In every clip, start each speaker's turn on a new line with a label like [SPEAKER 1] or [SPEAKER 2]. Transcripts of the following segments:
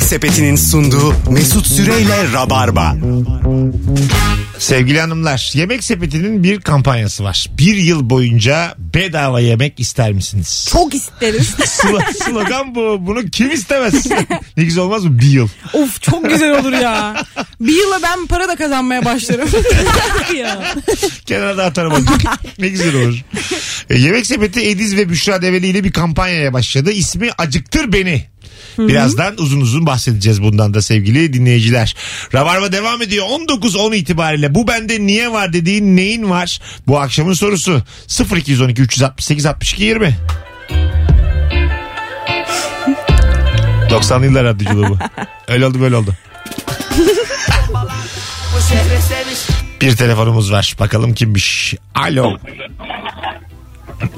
[SPEAKER 1] Sepeti'nin sunduğu Mesut Süreyle Rabarba.
[SPEAKER 2] Sevgili hanımlar, Yemek Sepeti'nin bir kampanyası var. Bir yıl boyunca bedava yemek ister misiniz?
[SPEAKER 3] Çok isteriz.
[SPEAKER 2] Slo- Slogan bu. Bunu kim istemez? ne güzel olmaz mı? Bir yıl.
[SPEAKER 3] of çok güzel olur ya. Bir yıla ben para da kazanmaya başlarım.
[SPEAKER 4] Ya.
[SPEAKER 2] Kenara da atarım onu. ne güzel olur. E, yemek Sepeti Ediz ve Büşra Develi ile bir kampanyaya başladı. İsmi Acıktır Beni. Birazdan uzun uzun bahsedeceğiz bundan da sevgili dinleyiciler. Rabarba devam ediyor 19.10 itibariyle. Bu bende niye var dediğin neyin var? Bu akşamın sorusu 0212 368 62 20. 90'lı yıllar radyoculuğu bu. Öyle oldu böyle oldu. Bir telefonumuz var. Bakalım kimmiş. Alo.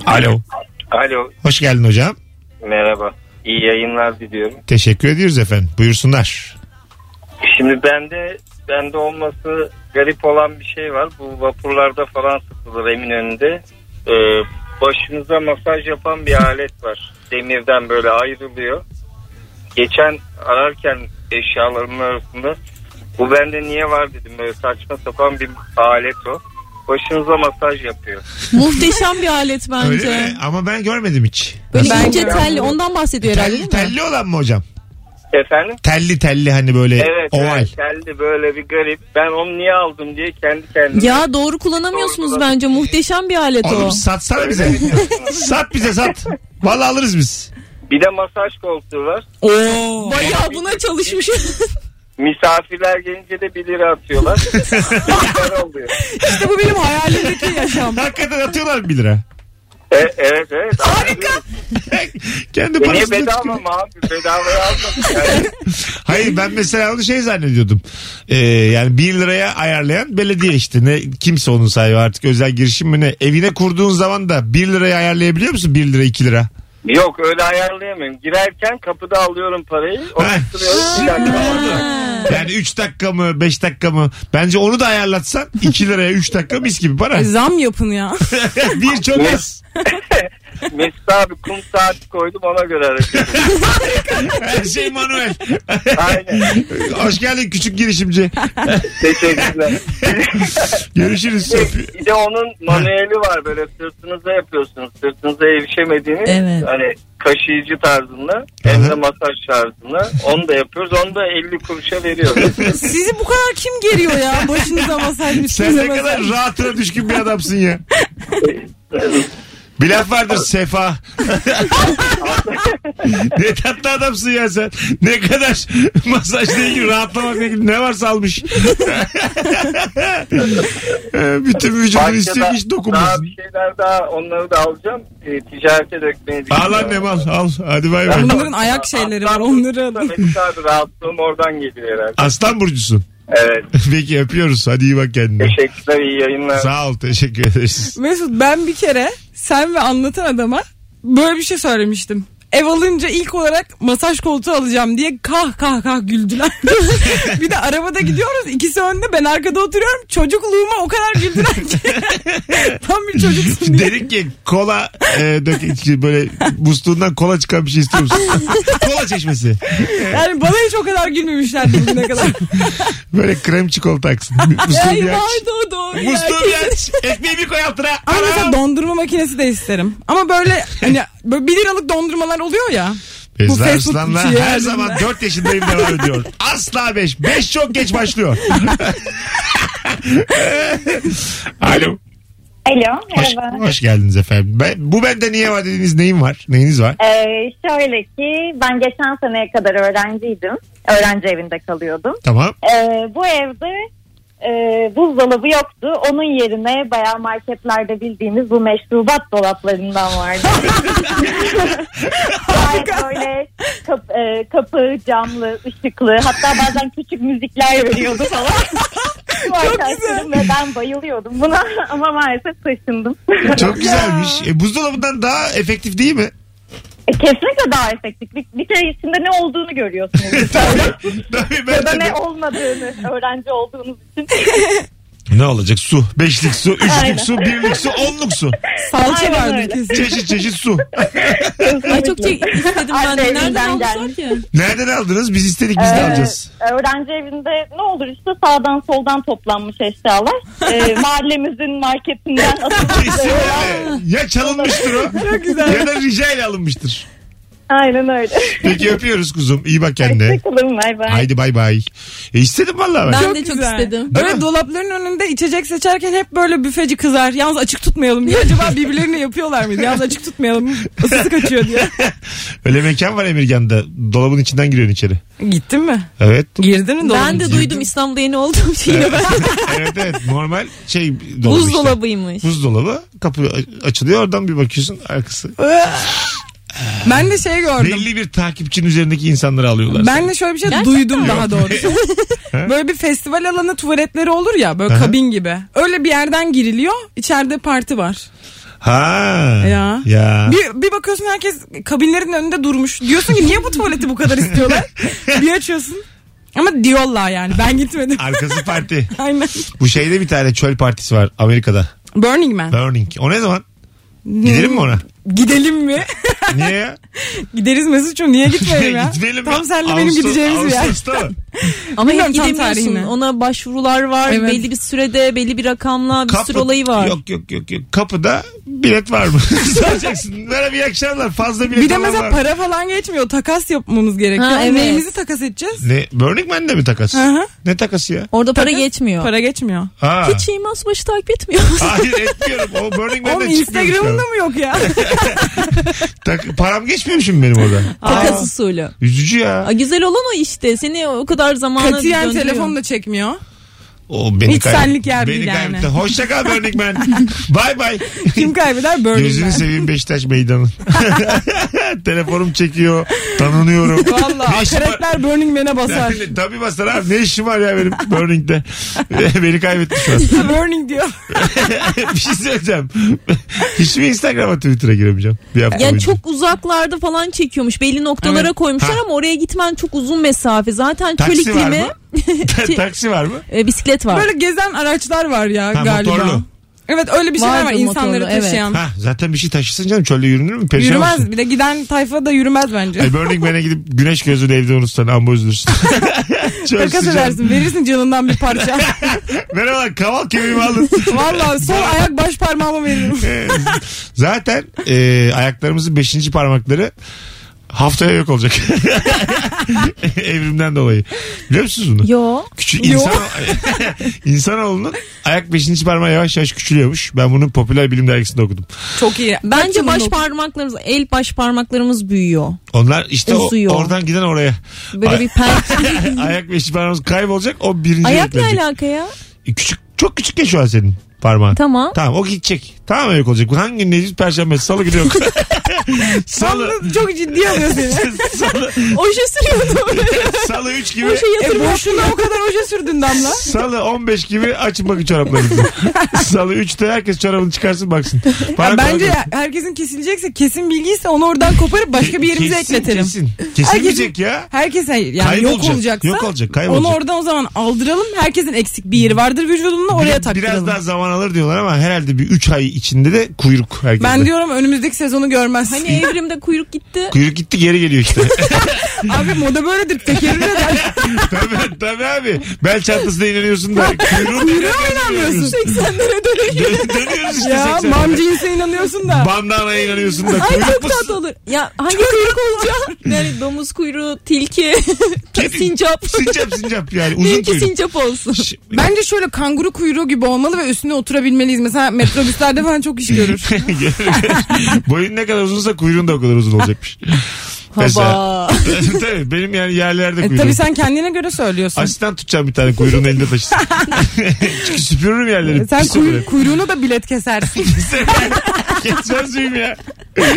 [SPEAKER 2] Alo.
[SPEAKER 5] Alo
[SPEAKER 2] Hoş geldin hocam.
[SPEAKER 5] merhaba. İyi yayınlar diliyorum.
[SPEAKER 2] Teşekkür ediyoruz efendim. Buyursunlar.
[SPEAKER 5] Şimdi bende bende olması garip olan bir şey var. Bu vapurlarda falan satılır Eminönü'nde. Ee, başınıza masaj yapan bir alet var. Demirden böyle ayrılıyor. Geçen ararken eşyalarımın arasında bu bende niye var dedim. Böyle saçma sapan bir alet o. Başınıza masaj yapıyor.
[SPEAKER 4] Muhteşem bir alet bence.
[SPEAKER 2] Öyle mi? Ama ben görmedim hiç.
[SPEAKER 4] Böyle
[SPEAKER 3] Ben
[SPEAKER 4] ince
[SPEAKER 3] görmedim.
[SPEAKER 4] telli ondan bahsediyor herhalde
[SPEAKER 2] Telli,
[SPEAKER 4] değil mi?
[SPEAKER 2] telli olan mı hocam?
[SPEAKER 5] Efendim?
[SPEAKER 2] Telli telli hani böyle
[SPEAKER 5] Evet,
[SPEAKER 2] oval.
[SPEAKER 5] evet geldi böyle bir garip. Ben onu niye aldım diye kendi kendime.
[SPEAKER 4] Ya doğru kullanamıyorsunuz
[SPEAKER 5] Doğru.
[SPEAKER 4] bence. Muhteşem bir alet
[SPEAKER 2] Oğlum
[SPEAKER 4] o.
[SPEAKER 2] satsana bize. sat bize sat. Vallahi alırız biz.
[SPEAKER 5] Bir de masaj koltuğu var.
[SPEAKER 3] Oo.
[SPEAKER 4] Bayağı buna çalışmış.
[SPEAKER 5] Misafirler gelince de 1 lira atıyorlar. Süper oluyor.
[SPEAKER 3] İşte bu benim hayalimdeki yaşam.
[SPEAKER 2] Hakikaten atıyorlar 1 lira.
[SPEAKER 5] E, evet evet. Harika.
[SPEAKER 2] Kendi
[SPEAKER 5] E, niye
[SPEAKER 2] parasını
[SPEAKER 5] bedava mı abi? Bedavaya almadık yani.
[SPEAKER 2] Hayır ben mesela onu şey zannediyordum. Ee, yani 1 liraya ayarlayan belediye işte. Ne, kimse onun sahibi artık özel girişim mi ne? Evine kurduğun zaman da 1 liraya ayarlayabiliyor musun? 1 lira 2 lira.
[SPEAKER 5] Yok öyle ayarlayamıyorum. Girerken kapıda alıyorum parayı.
[SPEAKER 2] Ha.
[SPEAKER 5] Oturuyoruz. Bir dakika oldu.
[SPEAKER 2] Yani 3 dakika mı 5 dakika mı? Bence onu da ayarlatsan 2 liraya 3 dakika mis gibi para.
[SPEAKER 3] Zam yapın ya.
[SPEAKER 2] bir çok az.
[SPEAKER 5] Mesut abi kum saati koydum ona göre hareket ediyorum.
[SPEAKER 2] Her şey manuel.
[SPEAKER 5] Aynen.
[SPEAKER 2] Hoş geldin küçük girişimci.
[SPEAKER 5] Teşekkürler.
[SPEAKER 2] Görüşürüz. Öpü-
[SPEAKER 5] Bir de onun manueli var böyle sırtınıza yapıyorsunuz. Sırtınıza erişemediğiniz
[SPEAKER 4] Evet.
[SPEAKER 5] hani kaşıyıcı tarzında hem
[SPEAKER 2] Aha.
[SPEAKER 5] de masaj tarzında. Onu da yapıyoruz. Onu da 50 kuruşa veriyoruz.
[SPEAKER 3] Sizi bu kadar kim geriyor ya? Başınıza masaj,
[SPEAKER 2] Sen
[SPEAKER 3] üstünüze
[SPEAKER 2] ne
[SPEAKER 3] masaj.
[SPEAKER 2] kadar rahatına düşkün bir adamsın ya. Bir laf vardır sefa. ne tatlı adamsın ya sen. Ne kadar masajla ilgili rahatlamakla ilgili ne varsa almış. Bütün vücudunu
[SPEAKER 5] Başka da-
[SPEAKER 2] istemiş
[SPEAKER 5] Daha
[SPEAKER 2] dokunmasın.
[SPEAKER 5] bir şeyler daha onları da alacağım. E, ticarete dökmeyi
[SPEAKER 2] Al annem al al. Hadi bay bay.
[SPEAKER 3] Bunların ayak şeyleri var onları alın.
[SPEAKER 5] Mesut abi rahatlığım oradan geliyor herhalde.
[SPEAKER 2] Aslan burcusun.
[SPEAKER 5] Evet.
[SPEAKER 2] Peki öpüyoruz. Hadi iyi bak kendine.
[SPEAKER 5] Teşekkürler iyi yayınlar.
[SPEAKER 2] Sağ ol teşekkür ederiz.
[SPEAKER 3] Mesut ben bir kere sen ve anlatan adama böyle bir şey söylemiştim. Ev alınca ilk olarak masaj koltuğu alacağım diye kah kah kah güldüler. bir de arabada gidiyoruz ikisi önde ben arkada oturuyorum. Çocukluğuma o kadar güldüler ki. Tam bir çocuksun diye.
[SPEAKER 2] Dedim ki kola e, dök, böyle musluğundan kola çıkan bir şey istiyor musun? kola çeşmesi.
[SPEAKER 3] Yani bana hiç o kadar gülmemişlerdi bugüne kadar.
[SPEAKER 2] Böyle krem çikolata aksın. Musluğu
[SPEAKER 4] Ay
[SPEAKER 2] bir aç.
[SPEAKER 4] vardı o doğru. ya.
[SPEAKER 2] Musluğu bir aç. Ekmeği bir koy altına.
[SPEAKER 3] Ama
[SPEAKER 2] Anam.
[SPEAKER 3] mesela dondurma makinesi de isterim. Ama böyle hani böyle 1 liralık dondurmalar oluyor ya. bu
[SPEAKER 2] Ezra
[SPEAKER 3] fast food
[SPEAKER 2] Arslan'la
[SPEAKER 3] bir şey
[SPEAKER 2] her
[SPEAKER 3] yani.
[SPEAKER 2] zaman 4 yaşındayım devam ediyor. Asla 5. 5 çok geç başlıyor. Alo.
[SPEAKER 6] Alo
[SPEAKER 2] Hoş,
[SPEAKER 6] merhaba.
[SPEAKER 2] hoş geldiniz efendim. Ben, bu bende niye var dediğiniz neyin var? Neyiniz var?
[SPEAKER 6] Ee, şöyle ki ben geçen seneye kadar öğrenciydim. Öğrenci evinde kalıyordum.
[SPEAKER 2] Tamam.
[SPEAKER 6] Ee, bu evde e, buzdolabı yoktu. Onun yerine bayağı marketlerde bildiğimiz bu meşrubat dolaplarından vardı. Harika. böyle kap- e, kapı camlı, ışıklı hatta bazen küçük müzikler veriyordu falan. Çok Ve ben bayılıyordum buna ama maalesef taşındım.
[SPEAKER 2] Çok güzelmiş. E, buzdolabından daha efektif değil mi?
[SPEAKER 6] E, Kesinlikle daha efektif. Bir, bir kere içinde ne olduğunu görüyorsunuz.
[SPEAKER 2] Tabii. Tabii ben
[SPEAKER 6] ya da
[SPEAKER 2] de-
[SPEAKER 6] ne olmadığını öğrenci olduğunuz için.
[SPEAKER 2] Ne olacak? Su. Beşlik su,
[SPEAKER 6] Aynen.
[SPEAKER 2] üçlük su, birlik su, onluk su.
[SPEAKER 3] Salça
[SPEAKER 6] Aynen
[SPEAKER 3] vardı
[SPEAKER 6] öyle.
[SPEAKER 3] kesin.
[SPEAKER 2] Çeşit çeşit su.
[SPEAKER 4] Ay çok çek istedim ben de.
[SPEAKER 6] Annemden
[SPEAKER 4] Nereden almışlar
[SPEAKER 6] gelmiş.
[SPEAKER 4] ki?
[SPEAKER 2] Nereden aldınız? Biz istedik biz de
[SPEAKER 6] Ee,
[SPEAKER 2] alacağız.
[SPEAKER 6] Öğrenci evinde ne olur işte sağdan soldan toplanmış eşyalar. Ee, mahallemizin marketinden atılmış.
[SPEAKER 2] Kesin
[SPEAKER 6] böyle.
[SPEAKER 2] öyle. Ya çalınmıştır o. Ya da rica ile alınmıştır.
[SPEAKER 6] Aynen öyle.
[SPEAKER 2] Peki öpüyoruz kuzum. İyi bak kendine.
[SPEAKER 6] Hoşçakalın bay bay.
[SPEAKER 2] Haydi bay bay. E, istedim vallahi ben.
[SPEAKER 4] Ben
[SPEAKER 3] Çok
[SPEAKER 4] de çok
[SPEAKER 3] güzel.
[SPEAKER 4] istedim.
[SPEAKER 2] Değil
[SPEAKER 3] Böyle
[SPEAKER 2] mi?
[SPEAKER 3] dolapların önünde içecek seçerken hep böyle büfeci kızar. Yalnız açık tutmayalım diye. Acaba birbirlerini yapıyorlar mıydı? Yalnız açık tutmayalım. Isısı kaçıyor diye.
[SPEAKER 2] Öyle mekan var Emirgan'da. Dolabın içinden giriyorsun içeri.
[SPEAKER 3] Gittin mi?
[SPEAKER 2] Evet.
[SPEAKER 3] Girdin mi dolabın
[SPEAKER 4] Ben de
[SPEAKER 3] içine?
[SPEAKER 4] duydum İstanbul'da yeni olduğum şeyi.
[SPEAKER 2] evet evet. Normal şey dolabı işte.
[SPEAKER 4] Buzdolabıymış.
[SPEAKER 2] Buzdolabı kapı a- açılıyor oradan bir bakıyorsun arkası.
[SPEAKER 3] Ben de şey gördüm.
[SPEAKER 2] Belli bir takipçinin üzerindeki insanları alıyorlar.
[SPEAKER 3] Ben de şöyle bir şey
[SPEAKER 4] Gerçekten
[SPEAKER 3] duydum daha doğrusu. böyle bir festival alanı tuvaletleri olur ya böyle
[SPEAKER 2] Aha.
[SPEAKER 3] kabin gibi. Öyle bir yerden giriliyor. içeride parti var.
[SPEAKER 2] Ha.
[SPEAKER 3] Ya.
[SPEAKER 2] Ya.
[SPEAKER 3] Bir, bir bakıyorsun herkes kabinlerin önünde durmuş. Diyorsun ki niye bu tuvaleti bu kadar istiyorlar? bir açıyorsun. Ama diyorlar yani ben gitmedim.
[SPEAKER 2] Arkası parti.
[SPEAKER 3] Aynen.
[SPEAKER 2] Bu şeyde bir tane çöl partisi var Amerika'da.
[SPEAKER 3] Burning Man.
[SPEAKER 2] Burning. O ne zaman? Gidelim mi ona?
[SPEAKER 3] Gidelim mi?
[SPEAKER 2] Niye ya?
[SPEAKER 3] Gideriz Mesut'cum niye gitmeyelim ya?
[SPEAKER 2] Gidelim
[SPEAKER 3] Tam
[SPEAKER 2] mi?
[SPEAKER 3] senle benim
[SPEAKER 2] Ağustos-
[SPEAKER 3] gideceğimiz bir yer.
[SPEAKER 2] Ağustos'ta mı?
[SPEAKER 4] Ama hep
[SPEAKER 3] Bilmiyorum tam
[SPEAKER 4] gidemiyorsun.
[SPEAKER 3] tarihini.
[SPEAKER 4] Ona başvurular var.
[SPEAKER 3] Evet.
[SPEAKER 4] Belli bir sürede, belli bir rakamla bir sürü olayı var.
[SPEAKER 2] Yok yok yok. yok. Kapıda bilet var mı? Soracaksın. Merhaba iyi akşamlar. Fazla bilet
[SPEAKER 3] Bir de
[SPEAKER 2] olan
[SPEAKER 3] mesela
[SPEAKER 2] var.
[SPEAKER 3] para falan geçmiyor. Takas yapmamız gerekiyor.
[SPEAKER 4] Ha, evet.
[SPEAKER 3] Neyimizi takas edeceğiz?
[SPEAKER 2] Ne? Burning Man'de mi takas?
[SPEAKER 3] Hı hı.
[SPEAKER 2] Ne takası ya?
[SPEAKER 4] Orada para
[SPEAKER 3] Tabii.
[SPEAKER 4] geçmiyor.
[SPEAKER 3] Para geçmiyor.
[SPEAKER 2] Ha.
[SPEAKER 4] Hiç Yılmaz başı takip etmiyor.
[SPEAKER 2] Hayır etmiyorum. O Burning Man'den
[SPEAKER 3] Oğlum
[SPEAKER 2] çıkmıyormuş
[SPEAKER 3] Instagram'ında
[SPEAKER 2] abi.
[SPEAKER 3] mı yok ya?
[SPEAKER 2] Tak- param geçmiyor mu şimdi benim orada?
[SPEAKER 4] Takas usulü.
[SPEAKER 2] Üzücü ya.
[SPEAKER 4] Aa, güzel olan o işte. Seni o kadar zamana
[SPEAKER 3] Katiyen
[SPEAKER 4] döndürüyor.
[SPEAKER 3] telefon da çekmiyor.
[SPEAKER 2] O beni
[SPEAKER 3] Hiç
[SPEAKER 2] kaybet-
[SPEAKER 3] senlik yer
[SPEAKER 2] beni
[SPEAKER 3] değil yani.
[SPEAKER 2] kaybetti. Hoşça kal Burning Man. Bay bay.
[SPEAKER 3] Kim kaybeder? Burning
[SPEAKER 2] Gözünü
[SPEAKER 3] Man.
[SPEAKER 2] seveyim Beşiktaş meydanı. Telefonum çekiyor. Tanınıyorum. Ne
[SPEAKER 3] Valla
[SPEAKER 2] işim var?
[SPEAKER 3] karakter Burning Man'e basar.
[SPEAKER 2] Yani Tabii basar abi. Ne işim var ya benim Burning'de? Beni kaybetti şu an.
[SPEAKER 3] Burning diyor.
[SPEAKER 2] bir şey söyleyeceğim. Hiç mi Instagram'a Twitter'a giremeyeceğim? Bir hafta
[SPEAKER 4] Yani
[SPEAKER 2] boyunca.
[SPEAKER 4] çok uzaklarda falan çekiyormuş. Belli noktalara
[SPEAKER 2] Evet.
[SPEAKER 4] koymuşlar
[SPEAKER 2] Ha.
[SPEAKER 4] ama oraya gitmen çok uzun mesafe. Zaten çöl
[SPEAKER 2] Taksi var
[SPEAKER 4] iklimi
[SPEAKER 2] mı? Ta- taksi var mı?
[SPEAKER 4] e, bisiklet var.
[SPEAKER 3] Böyle gezen araçlar var ya
[SPEAKER 2] Ha,
[SPEAKER 3] galiba.
[SPEAKER 2] motorlu.
[SPEAKER 3] Evet öyle bir şeyler
[SPEAKER 4] Vardı
[SPEAKER 3] var
[SPEAKER 4] motorlu,
[SPEAKER 3] insanları
[SPEAKER 4] evet.
[SPEAKER 3] taşıyan.
[SPEAKER 2] Ha, zaten bir şey taşısın canım. Çölde yürünür mü? Perişan
[SPEAKER 3] Yürümez
[SPEAKER 2] olsun.
[SPEAKER 3] bir de giden tayfa da yürümez bence.
[SPEAKER 2] Ay, Burning Man'e gidip güneş gözünü evde unutsan amba üzülürsün. Çok
[SPEAKER 3] Takas
[SPEAKER 2] sıcak.
[SPEAKER 3] edersin verirsin canından bir parça.
[SPEAKER 2] Merhaba kaval kemiğimi aldın.
[SPEAKER 3] Valla sol ayak baş parmağıma veririm.
[SPEAKER 2] Ee, Zaten e, ayaklarımızın beşinci parmakları haftaya yok olacak. Evrimden dolayı. Biliyor musunuz bunu?
[SPEAKER 4] Yo.
[SPEAKER 2] Küçük
[SPEAKER 3] Yo.
[SPEAKER 2] insan insanoğlunun ayak beşinci parmağı yavaş yavaş küçülüyormuş. Ben bunu popüler bilim dergisinde okudum.
[SPEAKER 3] Çok iyi.
[SPEAKER 4] Bence baş parmaklarımız, el baş parmaklarımız büyüyor.
[SPEAKER 2] Onlar işte o,
[SPEAKER 4] Uzuyor.
[SPEAKER 2] oradan giden oraya.
[SPEAKER 4] Böyle
[SPEAKER 2] Ay-
[SPEAKER 4] bir pençe.
[SPEAKER 2] ayak beşinci parmağımız kaybolacak. O birinci
[SPEAKER 4] Ayak ne
[SPEAKER 2] eklenecek.
[SPEAKER 4] alaka ya?
[SPEAKER 2] E, Küçük çok küçük ya şu an senin parmağın.
[SPEAKER 4] Tamam.
[SPEAKER 2] Tamam o gidecek. Tamam yok olacak. Bu Hangi gün Necip Perşembe? Salı günü yok. Salı.
[SPEAKER 3] Çok ciddi alıyor seni.
[SPEAKER 2] Salı,
[SPEAKER 4] Oje sürüyordu.
[SPEAKER 2] salı 3 gibi.
[SPEAKER 4] Oje
[SPEAKER 3] e
[SPEAKER 4] yatırma.
[SPEAKER 3] boşluğuna o kadar oje sürdün Damla.
[SPEAKER 2] Salı 15 gibi açın bakın çoraplarınızı. Salı 3'te herkes çorabını çıkarsın baksın. Para
[SPEAKER 3] Ya bence
[SPEAKER 2] koyalım.
[SPEAKER 3] herkesin kesilecekse kesin bilgiyse onu oradan koparıp başka bir yerimize
[SPEAKER 2] Kesin,
[SPEAKER 3] ekletelim.
[SPEAKER 2] Kesin. Kesilmeyecek ya.
[SPEAKER 3] Herkes hayır yani
[SPEAKER 2] Kaybolacak.
[SPEAKER 3] yok olacaksa
[SPEAKER 2] Yok olacak, kaybolacak.
[SPEAKER 3] onu oradan o zaman aldıralım. Herkesin eksik bir yeri vardır vücudunda oraya
[SPEAKER 2] Bir-
[SPEAKER 3] taktıralım.
[SPEAKER 2] Biraz daha zaman alır diyorlar ama herhalde bir 3 ay içinde de kuyruk herkese.
[SPEAKER 3] Ben diyorum önümüzdeki sezonu görmez.
[SPEAKER 4] Hani evrimde kuyruk gitti.
[SPEAKER 2] Kuyruk gitti geri geliyor işte.
[SPEAKER 3] Abi moda böyledir tekerrür
[SPEAKER 4] Şey
[SPEAKER 3] eder.
[SPEAKER 2] tabii, tabii abi. Bel çantasına inanıyorsun da kuyruğu
[SPEAKER 3] Kuyruğa inanmıyorsun.
[SPEAKER 4] 80'lere dönüyor.
[SPEAKER 2] Dönüyoruz işte.
[SPEAKER 3] ya
[SPEAKER 2] 80'lere.
[SPEAKER 3] mam cinse inanıyorsun da.
[SPEAKER 2] Bandana'ya inanıyorsun da
[SPEAKER 4] Ay
[SPEAKER 2] kuyruk
[SPEAKER 4] çok
[SPEAKER 2] musun?
[SPEAKER 4] tatlı olur. Ya hangi kuyruk olacak? Yani domuz kuyruğu, tilki,
[SPEAKER 2] Kedi-
[SPEAKER 4] sincap.
[SPEAKER 2] Sincap sincap yani uzun
[SPEAKER 4] Benimki
[SPEAKER 2] kuyruk.
[SPEAKER 4] sincap olsun.
[SPEAKER 2] Ş-
[SPEAKER 3] Bence şöyle kanguru kuyruğu gibi olmalı ve üstüne oturabilmeliyiz. Mesela metrobüslerde falan çok iş görür.
[SPEAKER 2] Boyun ne kadar uzunsa kuyruğun da o kadar uzun olacakmış.
[SPEAKER 4] Haba.
[SPEAKER 2] tabii benim yani yerlerde
[SPEAKER 3] e,
[SPEAKER 2] kuyruğum.
[SPEAKER 3] tabii sen kendine göre söylüyorsun.
[SPEAKER 2] Asistan tutacağım bir tane kuyruğunu elinde taşısın. Çünkü süpürürüm yerleri.
[SPEAKER 3] E, sen
[SPEAKER 2] Pis
[SPEAKER 3] kuy-
[SPEAKER 2] olur.
[SPEAKER 3] kuyruğunu da bilet kesersin.
[SPEAKER 2] Kesmez miyim ya?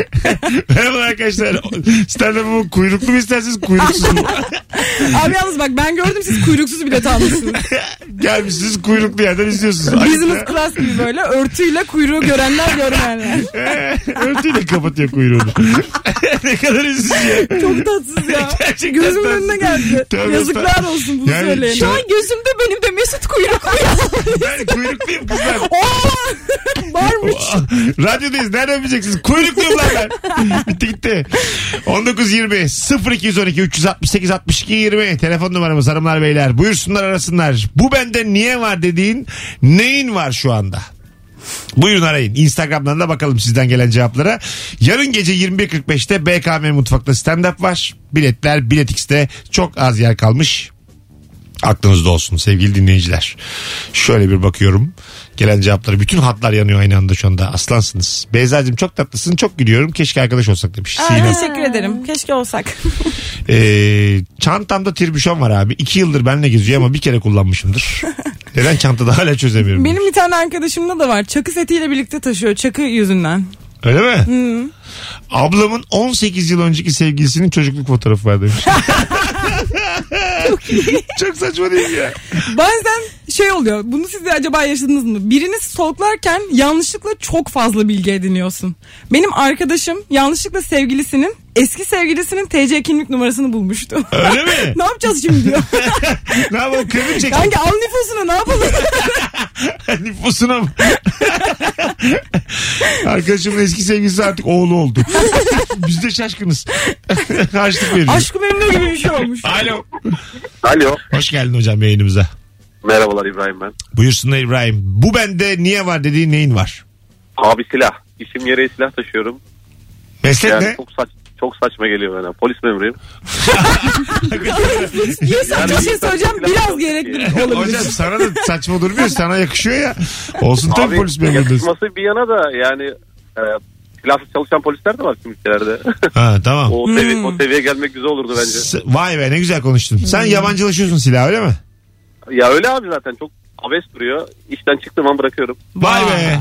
[SPEAKER 2] Merhaba arkadaşlar. Stand-up'ımı kuyruklu mu istersiniz kuyruksuz mu?
[SPEAKER 3] Abi yalnız bak ben gördüm siz kuyruksuz bilet almışsınız.
[SPEAKER 2] Gelmişsiniz kuyruklu yerden izliyorsunuz.
[SPEAKER 3] Business class gibi böyle örtüyle kuyruğu görenler görmeyenler.
[SPEAKER 2] e, Örtüyle kapatıyor kuyruğunu. ne kadar üzücü ya.
[SPEAKER 3] Çok tatsız ya.
[SPEAKER 2] Gerçekten
[SPEAKER 3] Gözümün
[SPEAKER 2] tatsız.
[SPEAKER 3] önüne geldi.
[SPEAKER 2] Tövbe
[SPEAKER 3] Yazıklar
[SPEAKER 2] estağfurullah.
[SPEAKER 3] olsun bunu
[SPEAKER 2] Yani
[SPEAKER 3] söyleyene.
[SPEAKER 2] şu an
[SPEAKER 4] Gözümde benim de Mesut kuyruklu.
[SPEAKER 2] Ben kuyrukluyum kızlar.
[SPEAKER 3] Varmış.
[SPEAKER 2] Radyodayız. Nereden bileceksiniz? Kuyrukluyum lan ben. Bitti gitti. 19.20 0212 368 62 20 telefon numaramız hanımlar beyler. Buyursunlar arasınlar. Bu bende niye var dediğin neyin var şu anda? Buyurun arayın. Instagram'dan da bakalım sizden gelen cevaplara. Yarın gece 21.45'te BKM Mutfak'ta stand-up var. Biletler Bilet X'te çok az yer kalmış. Aklınızda olsun sevgili dinleyiciler. Şöyle bir bakıyorum. Gelen cevapları. Bütün hatlar yanıyor aynı anda şu anda. Aslansınız. Beyza'cığım çok tatlısın. Çok gülüyorum. Keşke arkadaş olsak demiş.
[SPEAKER 3] Aa,
[SPEAKER 2] Sinem.
[SPEAKER 3] teşekkür ederim. Keşke olsak.
[SPEAKER 2] Ee, çantamda tribüşon var abi. İki yıldır benimle geziyor ama bir kere kullanmışımdır. Neden çantada hala çözemiyorum.
[SPEAKER 3] Benim bir tane arkadaşımda da var. Çakı setiyle birlikte taşıyor. Çakı yüzünden.
[SPEAKER 2] Öyle mi? Ablamın 18 yıl önceki sevgilisinin çocukluk fotoğrafı var demiş. Çok saçma değil mi ya.
[SPEAKER 3] Bazen şey oluyor. Bunu siz de acaba yaşadınız mı? Birini stalklarken yanlışlıkla çok fazla bilgi ediniyorsun. Benim arkadaşım yanlışlıkla sevgilisinin eski sevgilisinin TC kimlik numarasını bulmuştu.
[SPEAKER 2] Öyle mi?
[SPEAKER 3] ne yapacağız şimdi diyor.
[SPEAKER 2] ne yapalım kırmızı çekin.
[SPEAKER 3] Kanka al nüfusunu ne yapalım?
[SPEAKER 2] Nüfusuna mı? Arkadaşımın eski sevgilisi artık oğlu oldu. Biz de şaşkınız. Harçlık veriyoruz.
[SPEAKER 3] Aşkı memnu gibi bir şey olmuş.
[SPEAKER 2] Alo.
[SPEAKER 7] Alo.
[SPEAKER 2] Hoş geldin hocam yayınımıza.
[SPEAKER 7] Merhabalar İbrahim ben.
[SPEAKER 2] Buyursunlar İbrahim. Bu bende niye var dediğin neyin var?
[SPEAKER 7] Abi silah. İşim gereği silah taşıyorum.
[SPEAKER 2] Meslek
[SPEAKER 7] Yani
[SPEAKER 2] ne?
[SPEAKER 7] çok saç çok saçma geliyor bana. Polis memuruyum.
[SPEAKER 3] Bir saçma
[SPEAKER 7] Yani-
[SPEAKER 3] şey söyleyeceğim biraz gerekli olabilir.
[SPEAKER 2] Hocam sana da saçma durmuyor sana yakışıyor ya. Olsun tabii
[SPEAKER 7] Abi
[SPEAKER 2] polis memurluğu.
[SPEAKER 7] yakışması bir yana da yani e, silahsız çalışan polisler de var tüm ülkelerde.
[SPEAKER 2] Ha tamam.
[SPEAKER 7] o, seviye, o seviyeye gelmek güzel olurdu bence.
[SPEAKER 2] S- Vay be ne güzel konuştun. Sen yabancılaşıyorsun silah öyle mi?
[SPEAKER 7] Ya öyle abi zaten çok abes duruyor. İşten çıktığım an bırakıyorum.
[SPEAKER 2] Vay be.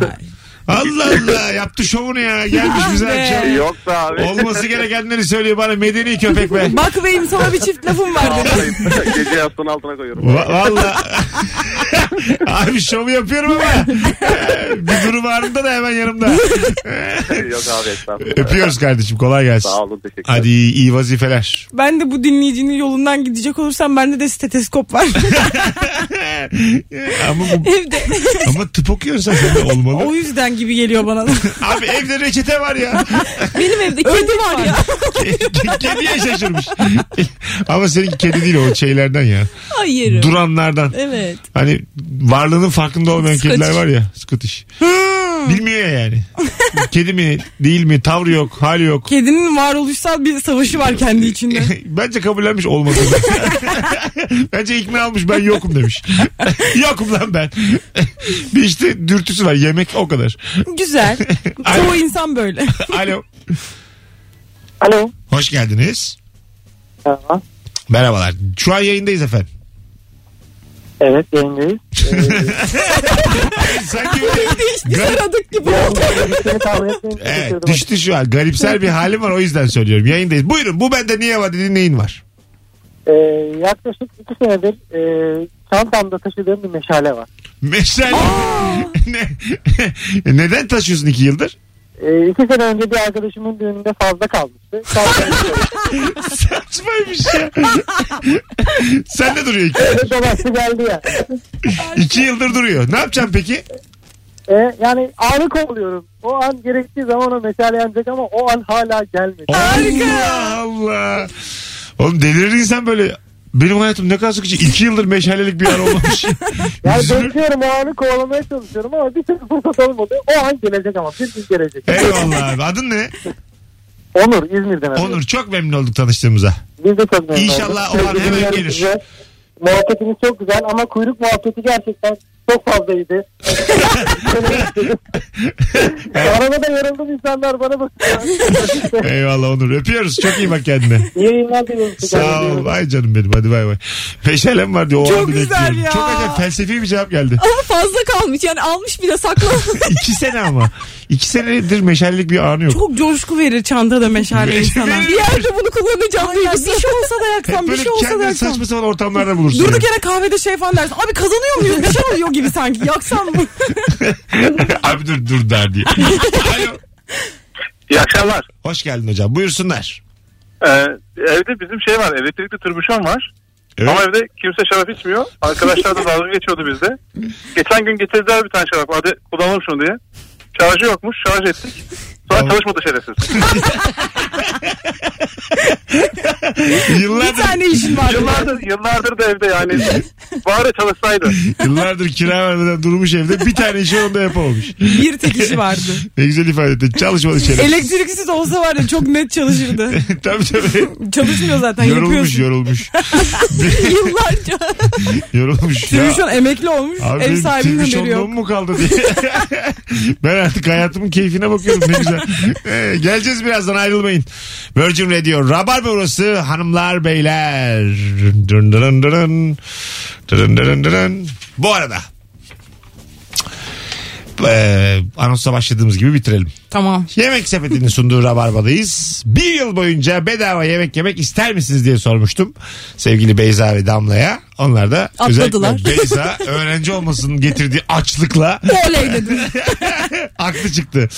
[SPEAKER 2] Allah Allah yaptı şovunu ya. Gelmiş
[SPEAKER 3] Vay
[SPEAKER 2] bize
[SPEAKER 3] be.
[SPEAKER 2] akşam.
[SPEAKER 7] Yok da abi.
[SPEAKER 2] Olması gerekenleri söylüyor bana medeni köpek be.
[SPEAKER 3] Bak beyim sana bir çift lafım var dedi.
[SPEAKER 7] Vallahi Gece yastığın altına koyuyorum.
[SPEAKER 2] Va- Valla. Abi şovu yapıyorum ama. e, Bir durum anında da hemen yanımda.
[SPEAKER 7] Yok abi estağfurullah.
[SPEAKER 2] Öpüyoruz kardeşim kolay gelsin.
[SPEAKER 7] Sağ olun teşekkür
[SPEAKER 2] Hadi
[SPEAKER 7] ederim.
[SPEAKER 2] iyi, iyi vazifeler.
[SPEAKER 3] Ben de bu dinleyicinin yolundan gidecek olursam bende de steteskop var.
[SPEAKER 2] ama, bu,
[SPEAKER 3] Evde.
[SPEAKER 2] ama tıp okuyorsan sen de olmalı.
[SPEAKER 3] O yüzden gibi geliyor bana.
[SPEAKER 2] Abi evde reçete var ya.
[SPEAKER 4] Benim evde kedi var ya.
[SPEAKER 2] Ke- Kediye şaşırmış. Ama senin kedi değil o şeylerden ya.
[SPEAKER 4] Hayır.
[SPEAKER 2] Duranlardan.
[SPEAKER 4] Evet.
[SPEAKER 2] Hani varlığının farkında olmayan kediler var ya. Scottish. Bilmiyor ya yani. Kedi mi değil mi tavrı yok hali yok.
[SPEAKER 3] Kedinin varoluşsal bir savaşı var kendi içinde.
[SPEAKER 2] Bence kabullenmiş olmadı. Bence ikna almış ben yokum demiş. yokum lan ben. bir işte dürtüsü var yemek o kadar.
[SPEAKER 3] Güzel. Çoğu insan böyle.
[SPEAKER 2] Alo.
[SPEAKER 8] Alo.
[SPEAKER 2] Hoş geldiniz.
[SPEAKER 8] Merhaba.
[SPEAKER 2] Merhabalar. Şu an yayındayız efendim. Ee,
[SPEAKER 8] Evet yayındayız.
[SPEAKER 2] Sanki böyle- garip,
[SPEAKER 3] Aradık gibi oldu.
[SPEAKER 8] Seni tahmin etmeyi
[SPEAKER 2] Evet,
[SPEAKER 8] evet,
[SPEAKER 2] düştü şu an. Garipsel bir halim var o yüzden söylüyorum. Yayındayız. Buyurun bu bende niye var dediğin neyin var?
[SPEAKER 8] ee, Yaklaşık iki senedir e, çantamda taşıdığım bir meşale var.
[SPEAKER 2] Meşale. Ne- Neden taşıyorsun iki yıldır?
[SPEAKER 8] E, iki sene önce bir arkadaşımın düğününde fazla kalmıştı. Çantamda
[SPEAKER 2] Saçmaymış ya. Sen de duruyor iki.
[SPEAKER 8] dolaştı geldi ya.
[SPEAKER 2] İki yıldır duruyor. Ne yapacaksın peki?
[SPEAKER 8] E, yani anı kovuluyorum. O an gerektiği zaman o meşale yanacak ama o an hala gelmedi.
[SPEAKER 2] Allah Allah. Oğlum delirir insan böyle. Benim hayatım ne kadar sıkıcı. İki yıldır meşalelik bir yer olmamış.
[SPEAKER 8] Yani
[SPEAKER 2] Üzülür.
[SPEAKER 8] bekliyorum o anı kovalamaya çalışıyorum ama bir türlü fırsat olmadı. O an gelecek ama bir gün gelecek.
[SPEAKER 2] E- Eyvallah abi. Adın ne?
[SPEAKER 8] Onur İzmir'den. arıyor.
[SPEAKER 2] Onur. Çok memnun olduk tanıştığımıza.
[SPEAKER 8] Biz de çok memnun
[SPEAKER 2] İnşallah
[SPEAKER 8] olduk.
[SPEAKER 2] olan hemen
[SPEAKER 8] Sevgili
[SPEAKER 2] gelir.
[SPEAKER 8] dinleyicilerimize, Muhabbetiniz çok güzel ama kuyruk muhabbeti gerçekten çok fazlaydı. Arabada yarıldım insanlar bana bakıyor.
[SPEAKER 2] Eyvallah Onur. Öpüyoruz. Çok iyi bak kendine.
[SPEAKER 8] İyi yayınlar diliyorum. size.
[SPEAKER 2] Sağ ol. Vay canım benim. Hadi bay bay. Peşelem var diyor. O
[SPEAKER 3] Çok
[SPEAKER 2] anı
[SPEAKER 3] güzel
[SPEAKER 2] bekliyorum.
[SPEAKER 3] ya.
[SPEAKER 2] Çok acayip felsefi bir cevap geldi.
[SPEAKER 4] Ama fazla kalmış yani almış bile saklamamış.
[SPEAKER 2] İki sene ama. İki senedir meşallik bir anı yok.
[SPEAKER 3] Çok coşku verir çantada meşale insana.
[SPEAKER 2] Verir.
[SPEAKER 4] bir yerde bunu kullanacağım
[SPEAKER 3] Ay ya,
[SPEAKER 4] duygusu.
[SPEAKER 3] bir şey olsa da yaksam,
[SPEAKER 2] Hep
[SPEAKER 3] bir
[SPEAKER 2] böyle
[SPEAKER 3] şey olsa da
[SPEAKER 2] kendini
[SPEAKER 3] yaksam.
[SPEAKER 2] saçma sapan ortamlarda bulursun.
[SPEAKER 3] Durduk yere kahvede şey falan dersin. Abi kazanıyor muyuz? Bir şey oluyor gibi sanki. Yaksam mı?
[SPEAKER 2] Abi dur dur der diye. Alo.
[SPEAKER 7] İyi akşamlar.
[SPEAKER 2] Hoş geldin hocam. Buyursunlar.
[SPEAKER 7] Ee, evde bizim şey var elektrikli türbüşon var.
[SPEAKER 2] Evet.
[SPEAKER 7] Ama evde kimse şarap içmiyor. Arkadaşlar da dalga geçiyordu bizde. Geçen gün getirdiler bir tane şarap. Hadi kullanalım şunu diye. Şarjı yokmuş. Şarj ettik. Sonra
[SPEAKER 2] Tamam.
[SPEAKER 7] çalışmadı şerefsiz.
[SPEAKER 3] bir
[SPEAKER 2] Yıllardır,
[SPEAKER 3] tane işin var.
[SPEAKER 7] yıllardır, yıllardır da evde yani. Bari çalışsaydı.
[SPEAKER 2] yıllardır kira vermeden durmuş evde. Bir tane işi onda yapamamış.
[SPEAKER 3] Bir tek işi vardı.
[SPEAKER 2] Ne güzel ifade ettin. Çalışmadı şeref.
[SPEAKER 3] Elektriksiz olsa var ya çok net çalışırdı.
[SPEAKER 2] tabii tabii.
[SPEAKER 3] Çalışmıyor zaten.
[SPEAKER 2] Yorulmuş
[SPEAKER 3] yapıyorsun.
[SPEAKER 2] yorulmuş.
[SPEAKER 4] Yıllarca.
[SPEAKER 2] Yorulmuş. Ya,
[SPEAKER 3] Tribüşon emekli olmuş.
[SPEAKER 2] Abi
[SPEAKER 3] ev
[SPEAKER 2] benim
[SPEAKER 3] sahibinin haberi
[SPEAKER 2] tribüşonluğum
[SPEAKER 3] yok.
[SPEAKER 2] mu kaldı diye. ben artık hayatımın keyfine bakıyorum ne güzel. Ee, geleceğiz birazdan ayrılmayın. Virgin Radio. Rabarba burası hanımlar beyler. Dırın dırın dırın. Dırın dırın dırın. Bu arada ee, anonsa başladığımız gibi bitirelim.
[SPEAKER 3] Tamam.
[SPEAKER 2] Yemek sepetinin sunduğu Rabarba'dayız. Bir yıl boyunca bedava yemek yemek ister misiniz diye sormuştum. Sevgili Beyza ve Damla'ya. Onlar da
[SPEAKER 4] Atladılar.
[SPEAKER 2] özellikle Beyza öğrenci olmasının getirdiği açlıkla
[SPEAKER 4] Oley dedim.
[SPEAKER 2] aklı çıktı.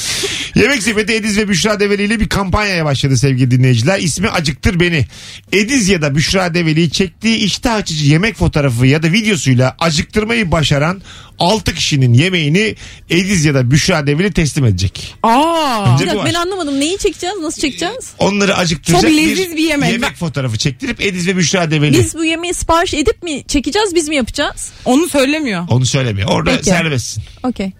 [SPEAKER 2] Yemek sepeti Ediz ve Büşra Develi ile bir kampanyaya başladı sevgili dinleyiciler. İsmi Acıktır Beni. Ediz ya da Büşra Develi çektiği iştah açıcı yemek fotoğrafı ya da videosuyla acıktırmayı başaran 6 kişinin yemeğini Ediz ya da Büşra Develi teslim edecek.
[SPEAKER 3] Aa.
[SPEAKER 2] Önce
[SPEAKER 4] Bir
[SPEAKER 2] bu var.
[SPEAKER 4] dakika, ben anlamadım neyi çekeceğiz nasıl çekeceğiz?
[SPEAKER 2] Onları acıktıracak
[SPEAKER 3] Çok leziz bir yemek.
[SPEAKER 2] fotoğrafı çektirip Ediz ve Büşra Develi.
[SPEAKER 4] Biz bu yemeği sipariş edip mi çekeceğiz biz mi yapacağız?
[SPEAKER 3] Onu söylemiyor.
[SPEAKER 2] Onu söylemiyor. Orada
[SPEAKER 4] Peki.
[SPEAKER 2] serbestsin.
[SPEAKER 4] Okey.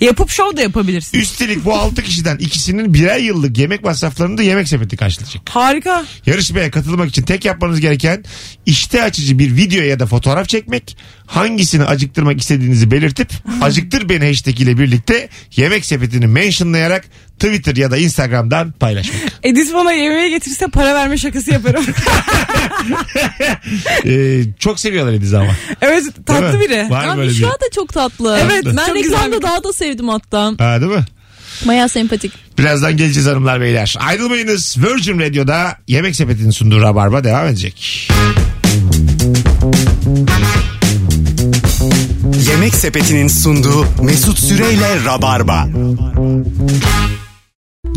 [SPEAKER 3] Yapıp şov da yapabilirsin.
[SPEAKER 2] Üstelik bu 6 kişiden ikisinin birer yıllık yemek masraflarını da yemek sepeti karşılayacak.
[SPEAKER 3] Harika.
[SPEAKER 2] Yarışmaya katılmak için tek yapmanız gereken işte açıcı bir video ya da fotoğraf çekmek. Hangisini acıktırmak istediğinizi belirtip acıktır beni hashtag ile birlikte yemek sepetini mentionlayarak Twitter ya da Instagram'dan paylaşmak.
[SPEAKER 3] Edis bana yemeğe getirse para verme şakası yaparım.
[SPEAKER 2] Ee, çok seviyorlar Ediz'i ama.
[SPEAKER 3] evet
[SPEAKER 2] Değil
[SPEAKER 3] tatlı
[SPEAKER 2] mi?
[SPEAKER 3] biri.
[SPEAKER 2] Var
[SPEAKER 4] Abi
[SPEAKER 2] böyle bir.
[SPEAKER 4] Büşra da çok tatlı.
[SPEAKER 3] Evet,
[SPEAKER 4] Ben
[SPEAKER 3] çok güzel
[SPEAKER 4] reklamda
[SPEAKER 3] bir-
[SPEAKER 4] daha da sevdim hatta.
[SPEAKER 2] Ha, değil mi?
[SPEAKER 4] Baya sempatik.
[SPEAKER 2] Birazdan geleceğiz hanımlar beyler. Ayrılmayınız. Virgin Radio'da Yemek Sepeti'nin sunduğu Rabarba devam edecek.
[SPEAKER 1] Yemek sepetinin sunduğu Mesut Süreyle Rabarba.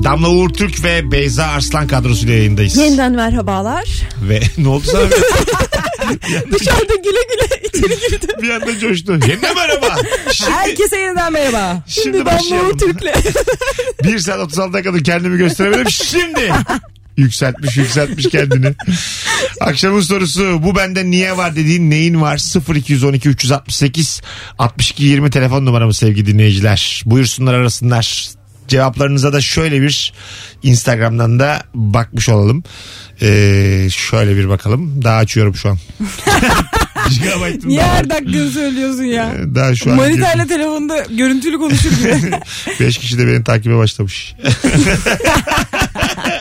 [SPEAKER 2] Damla Uğur Türk ve Beyza Arslan kadrosuyla yayındayız.
[SPEAKER 4] Yeniden merhabalar.
[SPEAKER 2] Ve ne oldu sana?
[SPEAKER 4] Dışarıda güle güle içeri girdi.
[SPEAKER 2] bir anda coştu. Yeniden merhaba. Şimdi,
[SPEAKER 3] Herkese yeniden merhaba.
[SPEAKER 2] şimdi
[SPEAKER 4] Şimdi ben
[SPEAKER 2] başlayalım.
[SPEAKER 4] Uğur Türk'le.
[SPEAKER 2] 1 saat 36 dakikada kendimi gösteremedim. Şimdi yükseltmiş yükseltmiş kendini. Akşamın sorusu bu bende niye var dediğin neyin var? 0212 368 62 20 telefon numaramı sevgili dinleyiciler. Buyursunlar arasınlar. Cevaplarınıza da şöyle bir Instagram'dan da bakmış olalım. Ee, şöyle bir bakalım. Daha açıyorum şu an. Gigabyte'ım
[SPEAKER 3] Niye
[SPEAKER 2] daha var. Ee,
[SPEAKER 3] her dakika söylüyorsun ya?
[SPEAKER 2] Daha şu an.
[SPEAKER 3] Manitayla telefonda görüntülü konuşur gibi.
[SPEAKER 2] Beş kişi de beni takibe başlamış.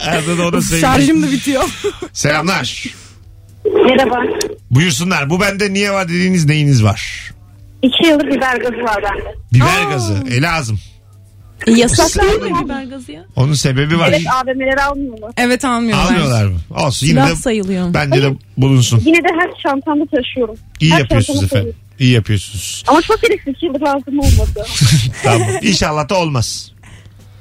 [SPEAKER 2] Arada da ona sevgi.
[SPEAKER 3] Şarjım da bitiyor.
[SPEAKER 2] Selamlar.
[SPEAKER 6] Merhaba.
[SPEAKER 2] Buyursunlar. Bu bende niye var dediğiniz neyiniz var?
[SPEAKER 6] İki yıldır biber gazı var bende.
[SPEAKER 2] Biber gazı. E lazım.
[SPEAKER 4] Yasak değil mi biber gazı ya?
[SPEAKER 2] Onun sebebi var.
[SPEAKER 6] Evet AVM'leri almıyor mu?
[SPEAKER 3] Evet almıyorlar.
[SPEAKER 2] Almıyorlar mı? Olsun yine
[SPEAKER 4] Silah
[SPEAKER 2] de
[SPEAKER 4] sayılıyor.
[SPEAKER 2] bence de bulunsun.
[SPEAKER 6] Yine de her çantamda taşıyorum.
[SPEAKER 2] İyi
[SPEAKER 6] Her
[SPEAKER 2] yapıyorsunuz
[SPEAKER 6] çantamda
[SPEAKER 2] efendim.
[SPEAKER 6] taşıyorum.
[SPEAKER 2] İyi yapıyorsunuz.
[SPEAKER 6] Ama çok gereksiz iki yıldır lazım olmadı.
[SPEAKER 2] tamam. İnşallah da olmaz.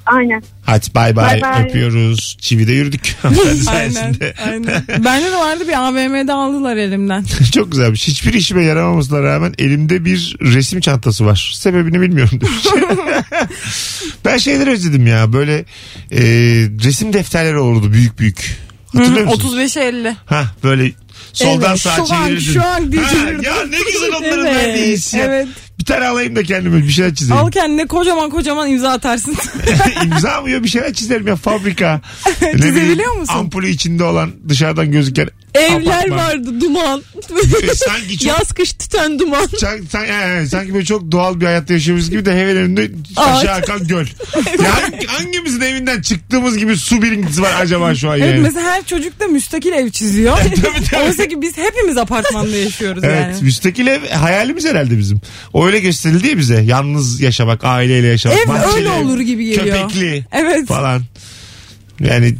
[SPEAKER 6] Aynen.
[SPEAKER 2] Hadi bay bay.
[SPEAKER 6] Bay bay.
[SPEAKER 2] Öpüyoruz. Çivide yürüdük. Hanımefendi
[SPEAKER 3] Aynen,
[SPEAKER 2] sayesinde.
[SPEAKER 3] aynen. Bende de vardı bir AVM'de aldılar elimden.
[SPEAKER 2] Çok güzelmiş. Hiçbir işime yaramamasına rağmen elimde bir resim çantası var. Sebebini bilmiyorum demiş. ben şeyleri özledim ya. Böyle e, resim defterleri olurdu büyük büük. Hatırlıyor musun?
[SPEAKER 3] 35'e 50.
[SPEAKER 2] Ha böyle soldan
[SPEAKER 3] Evet,
[SPEAKER 2] sağa
[SPEAKER 3] şu an-
[SPEAKER 2] çevirirdin.
[SPEAKER 3] şu an diye
[SPEAKER 2] Ha,
[SPEAKER 3] çevirdim.
[SPEAKER 2] Ya ne güzel onların
[SPEAKER 3] Evet,
[SPEAKER 2] verdiği hissiyat.
[SPEAKER 3] evet.
[SPEAKER 2] Bir tane alayım da kendime bir şeyler çizeyim.
[SPEAKER 3] Al kendine kocaman kocaman imza atarsın.
[SPEAKER 2] İmza mı yok bir şeyler çizerim ya fabrika. Ne bileyim,
[SPEAKER 3] Çizebiliyor musun?
[SPEAKER 2] Ampulü içinde olan dışarıdan gözüken
[SPEAKER 4] Evler
[SPEAKER 2] Apartman.
[SPEAKER 4] vardı duman.
[SPEAKER 2] E, sanki çok
[SPEAKER 4] Yaz kış tüten duman.
[SPEAKER 2] Sanki, sanki, he, he, sanki böyle çok doğal bir hayatta yaşıyoruz gibi de hemen önünde aşağı akan göl. ya hangi- hangimizin evinden çıktığımız gibi su birikintisi var acaba şu an
[SPEAKER 3] Evet,
[SPEAKER 2] yani?
[SPEAKER 3] mesela her çocuk da müstakil ev çiziyor. Oysa ki biz hepimiz apartmanda yaşıyoruz
[SPEAKER 2] Evet
[SPEAKER 3] yani.
[SPEAKER 2] müstakil ev hayalimiz herhalde bizim. O öyle gösterildi ya bize. Yalnız yaşamak, aileyle yaşamak.
[SPEAKER 3] Ev
[SPEAKER 2] bahçeli
[SPEAKER 3] öyle
[SPEAKER 2] ev,
[SPEAKER 3] olur gibi geliyor.
[SPEAKER 2] Köpekli
[SPEAKER 3] Evet.
[SPEAKER 2] falan. Yani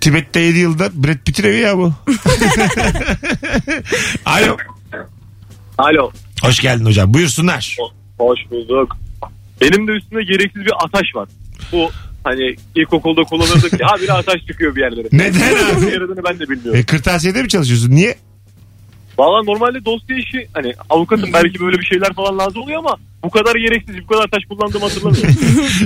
[SPEAKER 2] Tibet'te 7 yılda Brad Pitt'in evi ya bu. Alo.
[SPEAKER 7] Alo.
[SPEAKER 2] Hoş geldin hocam. Buyursunlar.
[SPEAKER 7] Hoş bulduk. Benim de üstümde gereksiz bir ataş var. Bu hani ilkokulda kullanırdık ya bir ataş çıkıyor bir yerlere.
[SPEAKER 2] Neden abi?
[SPEAKER 7] Ne yaradığını ben de bilmiyorum.
[SPEAKER 2] E, kırtasiyede mi çalışıyorsun? Niye?
[SPEAKER 7] Valla normalde dosya işi hani avukatım belki böyle bir şeyler falan lazım oluyor ama bu kadar gereksiz bu kadar taş kullandığımı hatırlamıyorum.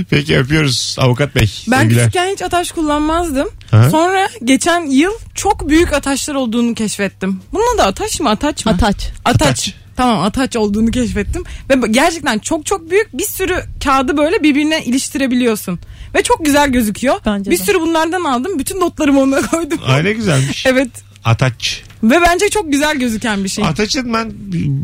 [SPEAKER 2] Peki öpüyoruz avukat bey.
[SPEAKER 3] Ben
[SPEAKER 2] Sevgiler.
[SPEAKER 3] küçükken hiç ataş kullanmazdım.
[SPEAKER 2] Aha.
[SPEAKER 3] Sonra geçen yıl çok büyük ataşlar olduğunu keşfettim. Bunun da ataş mı ataç mı?
[SPEAKER 4] Ataç.
[SPEAKER 3] Ataç.
[SPEAKER 2] Ataç.
[SPEAKER 3] Tamam ataç olduğunu keşfettim. Ve gerçekten çok çok büyük bir sürü kağıdı böyle birbirine iliştirebiliyorsun. Ve çok güzel gözüküyor.
[SPEAKER 4] Bence
[SPEAKER 3] bir
[SPEAKER 4] de.
[SPEAKER 3] sürü bunlardan aldım. Bütün notlarımı ona koydum.
[SPEAKER 2] Ay ne güzelmiş.
[SPEAKER 3] Evet.
[SPEAKER 2] Ataç.
[SPEAKER 3] Ve bence çok güzel gözüken bir şey.
[SPEAKER 2] Ataç'ın ben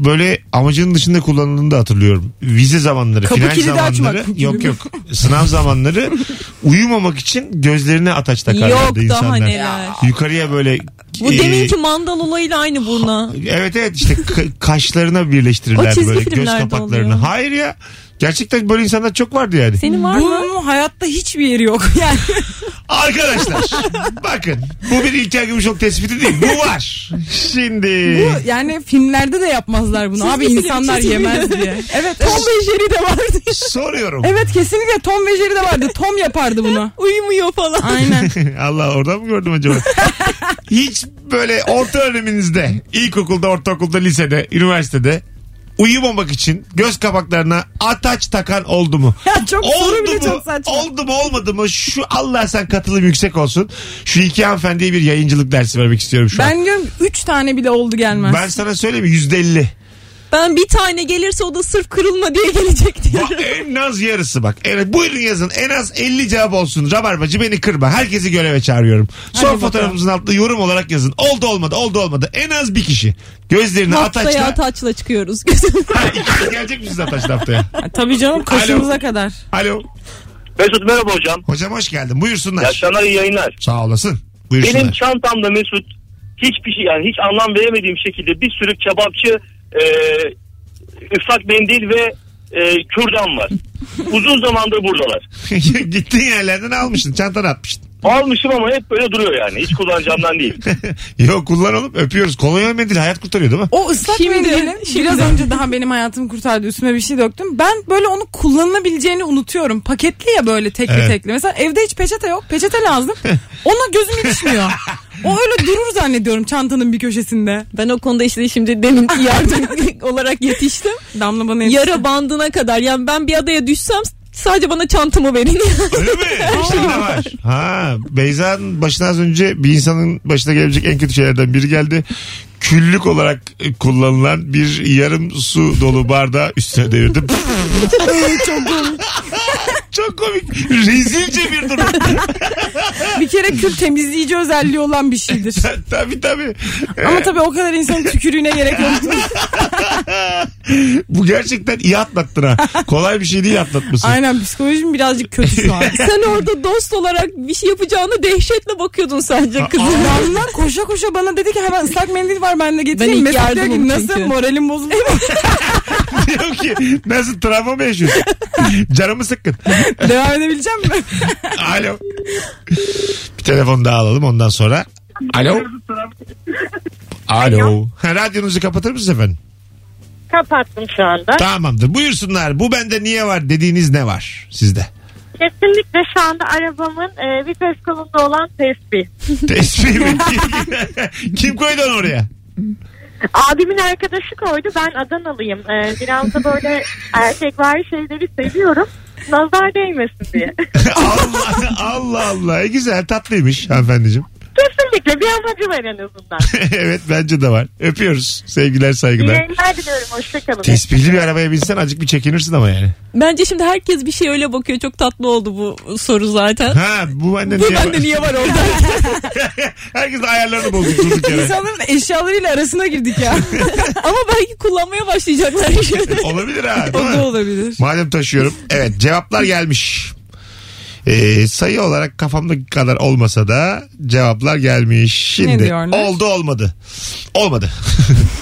[SPEAKER 2] böyle amacının dışında kullanıldığını da hatırlıyorum. Vize zamanları,
[SPEAKER 3] Kapı
[SPEAKER 2] final
[SPEAKER 3] kilidi
[SPEAKER 2] zamanları.
[SPEAKER 3] açmak.
[SPEAKER 2] Yok yok. Sınav zamanları uyumamak için gözlerine ataç takarlardı
[SPEAKER 4] Yok daha
[SPEAKER 2] insanlar.
[SPEAKER 4] neler.
[SPEAKER 2] Yukarıya böyle
[SPEAKER 4] Bu
[SPEAKER 2] e,
[SPEAKER 4] deminki mandal olayıyla aynı bununla.
[SPEAKER 2] Evet evet işte ka- kaşlarına birleştirirler
[SPEAKER 4] O çizgi
[SPEAKER 2] böyle göz
[SPEAKER 4] filmlerde
[SPEAKER 2] kapaklarını.
[SPEAKER 4] oluyor.
[SPEAKER 2] Hayır ya. Gerçekten böyle insanlar çok vardı yani.
[SPEAKER 4] Senin var mı?
[SPEAKER 3] Bunun hayatta hiçbir yeri yok. Yani
[SPEAKER 2] Arkadaşlar bakın bu bir İlker Gümüşok tespiti değil. Bu var. Şimdi.
[SPEAKER 3] bu yani filmlerde de yapmazlar bunu.
[SPEAKER 4] Çizgi
[SPEAKER 3] Abi
[SPEAKER 4] film,
[SPEAKER 3] insanlar
[SPEAKER 4] çizgi film.
[SPEAKER 3] yemez diye. Evet.
[SPEAKER 4] şey Tom ve Jerry de vardı.
[SPEAKER 2] Soruyorum.
[SPEAKER 3] Evet kesinlikle Tom ve Jerry de vardı. Tom yapardı bunu.
[SPEAKER 4] Uyumuyor falan.
[SPEAKER 3] Aynen.
[SPEAKER 2] Allah oradan mı gördüm acaba? Hiç böyle orta öğreniminizde, ilkokulda, ortaokulda, lisede, üniversitede uyumamak için göz kapaklarına ataç takan oldu mu?
[SPEAKER 3] Ya çok soru
[SPEAKER 2] oldu
[SPEAKER 3] bile
[SPEAKER 2] mu?
[SPEAKER 3] çok saçma.
[SPEAKER 2] Oldu mu olmadı mı? Şu Allah sen katılım yüksek olsun. Şu iki hanımefendiye bir yayıncılık dersi vermek istiyorum şu an.
[SPEAKER 3] Ben diyorum 3 tane bile oldu gelmez.
[SPEAKER 2] Ben sana söyleyeyim yüzde elli.
[SPEAKER 4] Ben bir tane gelirse o da sırf kırılma diye gelecek diye.
[SPEAKER 2] Ba- en az yarısı bak. Evet buyurun yazın. En az 50 cevap olsun. Rabarbacı beni kırma. Herkesi göreve çağırıyorum. Son
[SPEAKER 3] bakalım.
[SPEAKER 2] fotoğrafımızın altında yorum olarak yazın. Oldu olmadı oldu olmadı. En az bir kişi. Gözlerini
[SPEAKER 4] Haftaya
[SPEAKER 2] ataçla.
[SPEAKER 4] ataçla çıkıyoruz.
[SPEAKER 2] Ha, ikisi gelecek misiniz ataçla haftaya?
[SPEAKER 3] Ha, Tabii canım kaşımıza kadar.
[SPEAKER 2] Alo.
[SPEAKER 5] Mesut merhaba hocam.
[SPEAKER 2] Hocam hoş geldin. Buyursunlar.
[SPEAKER 5] İyi akşamlar iyi yayınlar.
[SPEAKER 2] Sağ olasın. Buyursunlar.
[SPEAKER 5] Benim çantamda Mesut hiçbir şey yani hiç anlam veremediğim şekilde bir sürü kebapçı e, ıslak mendil ve e, kürdan var. Uzun zamandır buradalar.
[SPEAKER 2] Gittiğin yerlerden almışsın. Çantana atmışsın.
[SPEAKER 5] Almışım ama hep böyle duruyor yani. Hiç kullanacağımdan değil.
[SPEAKER 2] Yok kullan oğlum öpüyoruz. Kolonya mendil hayat kurtarıyor değil mi?
[SPEAKER 3] O ıslak
[SPEAKER 4] Şimdi,
[SPEAKER 3] mendilin
[SPEAKER 4] şimdi.
[SPEAKER 3] biraz önce daha benim hayatımı kurtardı. Üstüme bir şey döktüm. Ben böyle onu kullanılabileceğini unutuyorum. Paketli ya böyle tekli
[SPEAKER 2] Evet.
[SPEAKER 3] tekli. Mesela evde hiç peçete yok. Peçete lazım. Ona gözüm ilişmiyor. O öyle durur zannediyorum çantanın bir köşesinde.
[SPEAKER 4] Ben o konuda işte şimdi demin yardım olarak yetiştim.
[SPEAKER 3] Damla bana yetişti.
[SPEAKER 4] Yara bandına kadar. Yani ben bir adaya düşsem sadece bana çantamı verin.
[SPEAKER 2] Öyle mi? Şimdi de var. Ha, Beyza'nın başına az önce bir insanın başına gelebilecek en kötü şeylerden biri geldi. Küllük olarak e, kullanılan bir yarım su dolu bardağı üstüne devirdim. Çok komik. Rezilce bir durum.
[SPEAKER 3] Bir kere kül temizleyici özelliği olan bir şeydir.
[SPEAKER 2] tabii tabii.
[SPEAKER 3] Ama tabii o kadar insanın tükürüğüne gerek yok.
[SPEAKER 2] Bu gerçekten iyi atlattın ha. Kolay bir şey değil atlatması.
[SPEAKER 3] Aynen psikolojim birazcık kötü şu an.
[SPEAKER 4] Sen orada dost olarak bir şey yapacağını dehşetle bakıyordun sadece kızım.
[SPEAKER 3] Damla koşa koşa bana dedi ki hemen ıslak mendil var ben de
[SPEAKER 4] Ben
[SPEAKER 3] getireyim.
[SPEAKER 4] ilk
[SPEAKER 3] Mesut diyor ki
[SPEAKER 4] yardımım
[SPEAKER 3] nasıl
[SPEAKER 4] çünkü."
[SPEAKER 3] moralim bozuldu.
[SPEAKER 2] Diyor ki nasıl travma mı yaşıyorsun? Canımı sıkkın.
[SPEAKER 3] Devam edebileceğim mi?
[SPEAKER 2] Alo. Bir telefon daha alalım ondan sonra. Alo. Alo. Ha, radyonuzu kapatır mısınız efendim?
[SPEAKER 6] Kapattım şu anda.
[SPEAKER 2] Tamamdır. Buyursunlar. Bu bende niye var dediğiniz ne var sizde?
[SPEAKER 6] Kesinlikle şu anda arabamın e, vites kolunda olan tespih.
[SPEAKER 2] Tespih mi? Kim koydu onu oraya?
[SPEAKER 6] Abimin arkadaşı koydu. Ben Adanalıyım. E, biraz da böyle erkekvari şeyleri seviyorum. Nazar değmesin diye.
[SPEAKER 2] Allah Allah Allah. E, güzel tatlıymış hanımefendiciğim.
[SPEAKER 6] Kesinlikle bir amacı var en azından.
[SPEAKER 2] evet bence de var. Öpüyoruz. Sevgiler
[SPEAKER 6] İyi
[SPEAKER 2] saygılar.
[SPEAKER 6] yayınlar diliyorum. Hoşçakalın.
[SPEAKER 2] Tespihli bir arabaya binsen azıcık bir çekinirsin ama yani.
[SPEAKER 4] Bence şimdi herkes bir şey öyle bakıyor. Çok tatlı oldu bu soru zaten.
[SPEAKER 2] Ha bu bende
[SPEAKER 4] Bu
[SPEAKER 2] niye var?
[SPEAKER 4] bende niye var orada?
[SPEAKER 2] Herkes ayarlarını bozuyor durduk yere.
[SPEAKER 3] İnsanların eşyalarıyla arasına girdik ya.
[SPEAKER 4] Ama belki kullanmaya başlayacaklar.
[SPEAKER 2] Olabilir ha.
[SPEAKER 3] o
[SPEAKER 2] değil mi?
[SPEAKER 3] da olabilir.
[SPEAKER 2] Madem taşıyorum. Evet cevaplar gelmiş. Ee, sayı olarak kafamdaki kadar olmasa da cevaplar gelmiş.
[SPEAKER 3] Ne
[SPEAKER 2] Şimdi
[SPEAKER 3] diyorlar?
[SPEAKER 2] oldu olmadı. Olmadı.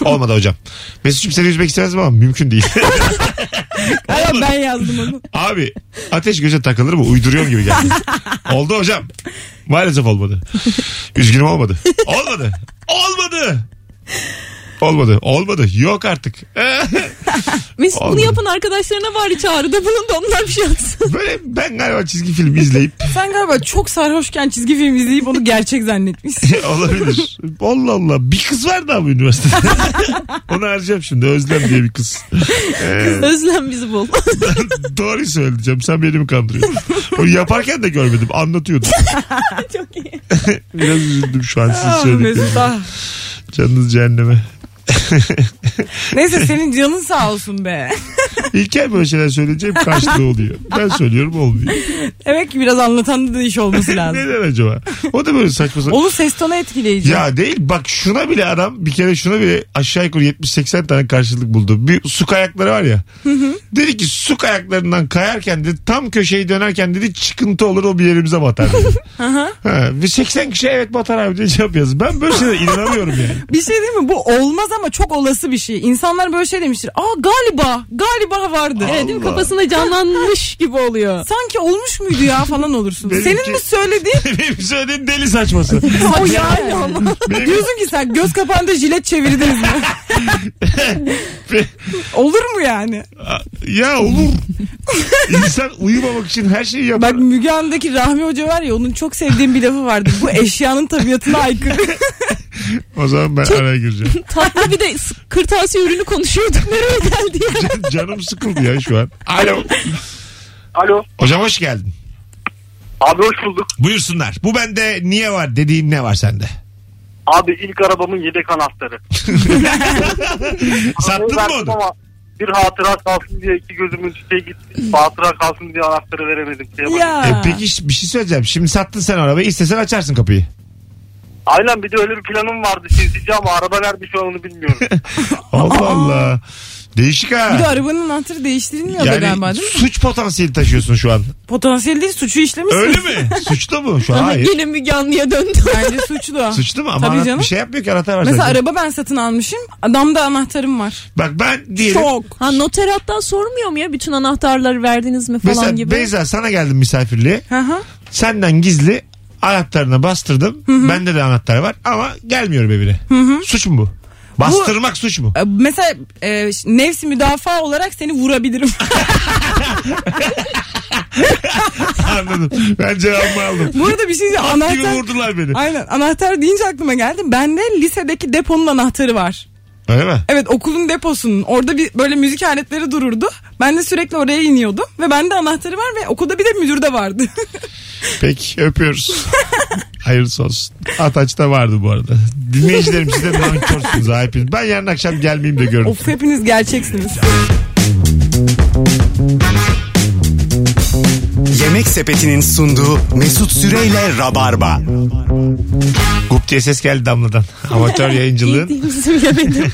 [SPEAKER 2] olmadı hocam. Mesut'cum seni üzmek istemez ama mümkün değil.
[SPEAKER 3] Hayır, ben yazdım onu.
[SPEAKER 2] Abi ateş göze takılır mı? Uyduruyorum gibi geldi. oldu hocam. Maalesef olmadı. Üzgünüm olmadı. Olmadı. Olmadı. Olmadı. Olmadı. Yok artık. Ee,
[SPEAKER 4] Mesut bunu
[SPEAKER 2] Olmadı.
[SPEAKER 4] yapan arkadaşlarına bari çağrıda bulun da onlar bir şey yapsın.
[SPEAKER 2] Böyle ben galiba çizgi film izleyip
[SPEAKER 3] Sen galiba çok sarhoşken çizgi film izleyip onu gerçek zannetmişsin.
[SPEAKER 2] Olabilir. Allah Allah. Bir kız vardı abi üniversitede. Onu arayacağım şimdi. Özlem diye bir kız. Ee,
[SPEAKER 4] Özlem bizi bul.
[SPEAKER 2] Doğruyu söyleyeceğim. Sen beni mi kandırıyorsun? Onu yaparken de görmedim. Anlatıyordum.
[SPEAKER 4] Çok iyi.
[SPEAKER 2] Biraz üzüldüm şu an size
[SPEAKER 3] Ah, Mesut,
[SPEAKER 2] söylediklerimi.
[SPEAKER 3] ah.
[SPEAKER 2] Canınız cehenneme.
[SPEAKER 3] Neyse senin canın sağ olsun be.
[SPEAKER 2] İlker böyle şeyler söyleyeceğim karşılığı oluyor. Ben söylüyorum olmuyor.
[SPEAKER 3] Demek ki biraz anlatan da iş olması lazım.
[SPEAKER 2] Neden acaba? O da böyle saçma sapan.
[SPEAKER 3] Onun ses tonu etkileyici.
[SPEAKER 2] Ya değil bak şuna bile adam bir kere şuna bile aşağı yukarı 70-80 tane karşılık buldu. Bir su kayakları var ya. Dedi ki su kayaklarından kayarken dedi tam köşeyi dönerken dedi çıkıntı olur o bir yerimize batar dedi. ha, ve 80 kişi evet batar abi diye cevap yazdı. Ben böyle şeylere inanamıyorum yani.
[SPEAKER 3] Bir şey değil mi? Bu olmaz ama çok olası bir şey. İnsanlar böyle şey demiştir. Aa galiba, galiba vardı.
[SPEAKER 2] Aa.
[SPEAKER 4] Evet değil mi?
[SPEAKER 2] Allah.
[SPEAKER 4] Kafasında canlanmış gibi oluyor.
[SPEAKER 3] Sanki olmuş muydu ya falan olursun.
[SPEAKER 2] Benimki-
[SPEAKER 3] Senin mi söylediğin
[SPEAKER 2] Benim söylediğim deli saçması.
[SPEAKER 3] o yani ama.
[SPEAKER 2] Benim-
[SPEAKER 3] Diyorsun ki sen göz kapağında jilet çevirdiniz mi? Olur mu yani?
[SPEAKER 2] ya olur. İnsan uyumamak için her şeyi yapar.
[SPEAKER 3] Bak Müge Anlı'daki Rahmi Hoca var ya onun çok sevdiğim bir lafı vardı. Bu eşyanın tabiatına aykırı.
[SPEAKER 2] O zaman ben araya gireceğim.
[SPEAKER 4] Tatlı bir de s- kırtasiye ürünü konuşuyorduk. Nereye geldi ya?
[SPEAKER 2] Canım sıkıldı ya şu an. Alo.
[SPEAKER 7] Alo.
[SPEAKER 2] Hocam hoş geldin.
[SPEAKER 7] Abi hoş bulduk.
[SPEAKER 2] Buyursunlar. Bu bende niye var dediğin ne var sende?
[SPEAKER 7] Abi ilk arabamın yedek anahtarı.
[SPEAKER 2] Sattın mı
[SPEAKER 7] Verdim
[SPEAKER 2] onu?
[SPEAKER 7] ama Bir hatıra kalsın diye iki gözümün şey gitti. Hatıra kalsın diye anahtarı veremedim. Şey yapamadım.
[SPEAKER 3] ya.
[SPEAKER 2] E peki ş- bir şey söyleyeceğim. Şimdi sattın sen arabayı istesen açarsın kapıyı.
[SPEAKER 7] Aynen bir de öyle bir planım vardı çizici ama araba nerede şu an onu bilmiyorum.
[SPEAKER 2] Allah Allah. Değişik
[SPEAKER 3] Bir de
[SPEAKER 2] ha.
[SPEAKER 3] arabanın anahtarı değiştirilmiyor da galiba
[SPEAKER 2] Yani
[SPEAKER 3] değil mi?
[SPEAKER 2] suç potansiyeli taşıyorsun şu an.
[SPEAKER 3] Potansiyel değil suçu işlemişsin.
[SPEAKER 2] Öyle mi? Suçlu mu? Şu an hayır.
[SPEAKER 4] Gelin Müge Anlı'ya döndü.
[SPEAKER 3] Bence suçlu.
[SPEAKER 2] Suçlu mu? Ama
[SPEAKER 3] Tabii
[SPEAKER 2] ana-
[SPEAKER 3] canım.
[SPEAKER 2] bir şey yapmıyor ki anahtar var
[SPEAKER 3] Mesela
[SPEAKER 2] zaten.
[SPEAKER 3] araba ben satın almışım. Adamda anahtarım var.
[SPEAKER 2] Bak ben diyelim.
[SPEAKER 3] Çok.
[SPEAKER 4] Ha noter hatta sormuyor mu ya bütün anahtarları verdiniz mi falan
[SPEAKER 2] Mesela
[SPEAKER 4] gibi.
[SPEAKER 2] Beyza sana geldim misafirliğe.
[SPEAKER 3] Hı hı.
[SPEAKER 2] Senden gizli anahtarına bastırdım. Bende de anahtar var ama gelmiyorum evine. Suç mu bu? Bastırmak suç mu?
[SPEAKER 3] E, Mesela e, ş- nefsi müdafaa olarak seni vurabilirim.
[SPEAKER 2] Anladım. Ben cevabımı aldım.
[SPEAKER 3] Bu arada bir şey diyeceğim.
[SPEAKER 2] At gibi
[SPEAKER 3] anahtar...
[SPEAKER 2] vurdular beni.
[SPEAKER 3] Aynen anahtar deyince aklıma geldi. Bende lisedeki deponun anahtarı var.
[SPEAKER 2] Öyle mi?
[SPEAKER 3] Evet okulun deposunun. Orada bir böyle müzik aletleri dururdu. Ben de sürekli oraya iniyordum. Ve bende anahtarı var ve okulda bir de müdür de vardı.
[SPEAKER 2] Peki öpüyoruz. Hayırlısı olsun. Ataç'ta vardı bu arada. Dinleyicilerim siz de nankörsünüz ha hepiniz. Ben yarın akşam gelmeyeyim de görün.
[SPEAKER 3] of hepiniz gerçeksiniz.
[SPEAKER 1] Yemek Sepeti'nin sunduğu Mesut Süreyle Rabarba.
[SPEAKER 2] Gup diye ses geldi damladan. Amatör yayıncılığın.
[SPEAKER 4] Yediğimizi bilemedim.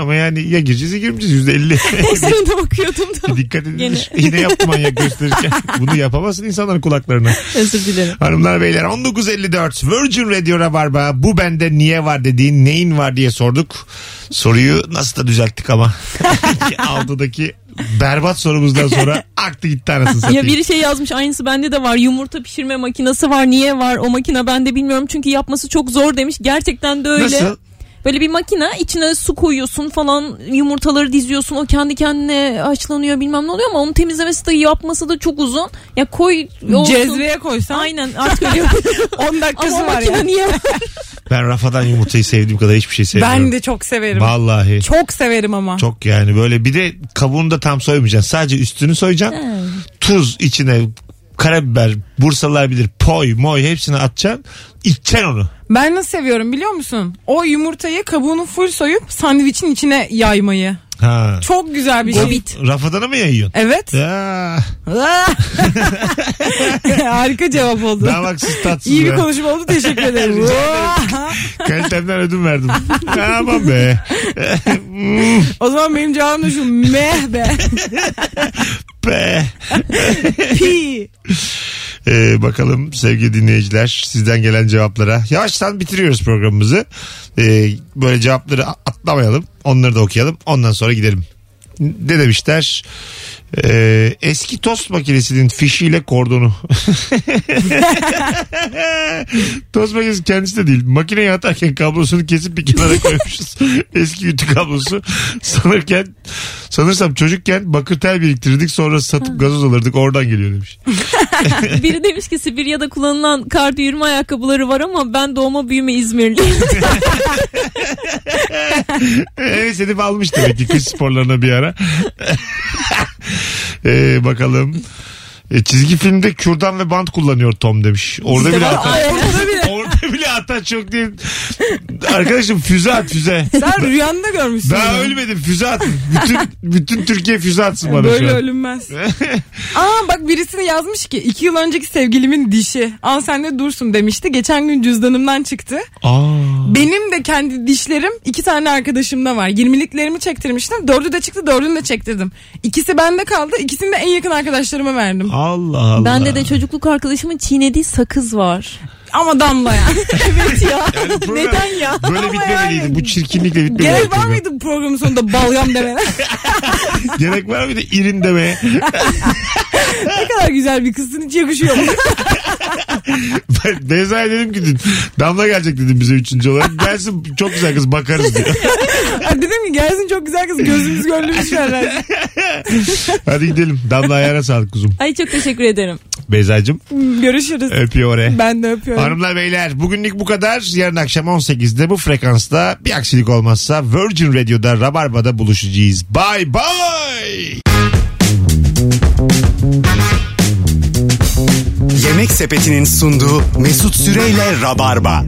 [SPEAKER 2] Ama yani ya gireceğiz ya girmeyeceğiz. Yüzde elli.
[SPEAKER 4] o sırada bakıyordum da.
[SPEAKER 2] Dikkat edin.
[SPEAKER 4] Gene.
[SPEAKER 2] Yine yaptım manyak gösterirken. Bunu yapamazsın insanların kulaklarına.
[SPEAKER 4] Özür dilerim.
[SPEAKER 2] Hanımlar beyler 1954 Virgin Radio Rabarba bu bende niye var dediğin neyin var diye sorduk. Soruyu nasıl da düzelttik ama. Altındaki berbat sorumuzdan sonra aktı gitti anasını
[SPEAKER 4] Ya
[SPEAKER 2] satayım.
[SPEAKER 4] biri şey yazmış aynısı bende de var. Yumurta pişirme makinesi var. Niye var? O makine ben de bilmiyorum. Çünkü yapması çok zor demiş. Gerçekten de öyle.
[SPEAKER 2] Nasıl?
[SPEAKER 4] Böyle bir makine içine su koyuyorsun falan yumurtaları diziyorsun o kendi kendine açlanıyor bilmem ne oluyor ama onu temizlemesi de yapması da çok uzun. Ya koy olsun.
[SPEAKER 3] Cezveye koysan
[SPEAKER 4] Aynen artık öyle yapıyorum.
[SPEAKER 3] 10 dakikası
[SPEAKER 4] ama o
[SPEAKER 3] var
[SPEAKER 4] makine
[SPEAKER 3] yani.
[SPEAKER 4] niye var?
[SPEAKER 2] Ben rafadan yumurtayı sevdiğim kadar hiçbir şey sevmiyorum.
[SPEAKER 3] Ben de çok severim.
[SPEAKER 2] Vallahi. Çok.
[SPEAKER 3] Çok severim ama.
[SPEAKER 2] yani böyle bir de kabuğunu da tam soymayacaksın. Sadece üstünü soyacaksın. Tuz içine karabiber, bursalar bilir, poy, moy hepsini atacaksın. İçeceksin onu.
[SPEAKER 3] Ben nasıl seviyorum biliyor musun? O yumurtayı kabuğunu full soyup sandviçin içine yaymayı.
[SPEAKER 2] Ha.
[SPEAKER 3] Çok güzel bir şey.
[SPEAKER 4] Gobit.
[SPEAKER 2] Rafadan'ı mı yayıyorsun?
[SPEAKER 3] Evet.
[SPEAKER 2] Ya.
[SPEAKER 3] Harika cevap oldu.
[SPEAKER 2] Davaksız tatsız.
[SPEAKER 3] İyi bir
[SPEAKER 2] be.
[SPEAKER 3] konuşma oldu. Teşekkür ederim.
[SPEAKER 2] Kalitemden ödün verdim. Aman be.
[SPEAKER 3] o zaman benim cevabım da şu. Meh be.
[SPEAKER 2] Be.
[SPEAKER 3] Pi.
[SPEAKER 2] Ee, bakalım sevgili dinleyiciler sizden gelen cevaplara. Yavaştan bitiriyoruz programımızı. Ee, böyle cevapları atlamayalım. Onları da okuyalım. Ondan sonra gidelim. Ne demişler? Ee, eski tost makinesinin fişiyle kordonu. tost makinesi kendisi de değil. Makineye atarken kablosunu kesip bir kenara koymuşuz. eski ütü kablosu. Sanırken, sanırsam çocukken bakır tel biriktirdik sonra satıp gazoz alırdık. Oradan geliyor demiş.
[SPEAKER 4] Biri demiş ki Sibirya'da kullanılan kardı yürüme ayakkabıları var ama ben doğma büyüme İzmirliyim.
[SPEAKER 2] Evet seni almış demek ki kış sporlarına bir ara. Ee, bakalım. E, çizgi filmde kürdan ve bant kullanıyor Tom demiş. Orada bile hata.
[SPEAKER 3] Orada bile.
[SPEAKER 2] Orada bile hata çok değil. Arkadaşım füze at füze.
[SPEAKER 3] Sen rüyanda görmüşsün.
[SPEAKER 2] Daha
[SPEAKER 3] bunu.
[SPEAKER 2] ölmedim füze at. Bütün, bütün Türkiye füze atsın bana
[SPEAKER 3] Böyle
[SPEAKER 2] şu an.
[SPEAKER 3] ölünmez. Aa bak birisini yazmış ki iki yıl önceki sevgilimin dişi. Al sen de dursun demişti. Geçen gün cüzdanımdan çıktı.
[SPEAKER 2] Aa.
[SPEAKER 3] Benim de kendi dişlerim iki tane arkadaşımda var. 20'liklerimi çektirmiştim. Dördü de çıktı dördünü de çektirdim. İkisi bende kaldı. İkisini de en yakın arkadaşlarıma verdim.
[SPEAKER 2] Allah Allah.
[SPEAKER 4] Bende de çocukluk arkadaşımın çiğnediği sakız var.
[SPEAKER 3] Ama damla ya.
[SPEAKER 2] Yani program
[SPEAKER 4] Neden ya?
[SPEAKER 2] Böyle bitmemeliydi. Bu çirkinlikle bitmemeliydi.
[SPEAKER 3] Gerek var mıydı bu programın sonunda balgam demene?
[SPEAKER 2] Gerek var mıydı? İrin demeye.
[SPEAKER 3] ne kadar güzel bir kızsın hiç yakışıyor.
[SPEAKER 2] Ben Beyza'ya dedim ki dün, Damla gelecek dedim bize üçüncü olarak. Gelsin çok güzel kız bakarız diyor.
[SPEAKER 3] Ha, Dedim ki gelsin çok güzel kız gözümüz gönlümüz ferler.
[SPEAKER 2] Hadi gidelim. Damla ayağına sağlık kuzum.
[SPEAKER 4] Ay çok teşekkür ederim.
[SPEAKER 2] Beyza'cığım
[SPEAKER 3] Görüşürüz.
[SPEAKER 2] öpüyor oraya.
[SPEAKER 3] Ben de öpüyorum.
[SPEAKER 2] Hanımlar beyler bugünlük bu kadar. Yarın akşam 18'de bu frekansta bir aksilik olmazsa Virgin Radio'da Rabarba'da buluşacağız. Bye bye.
[SPEAKER 1] Yemek Sepeti'nin sunduğu Mesut Süreyle Rabarba.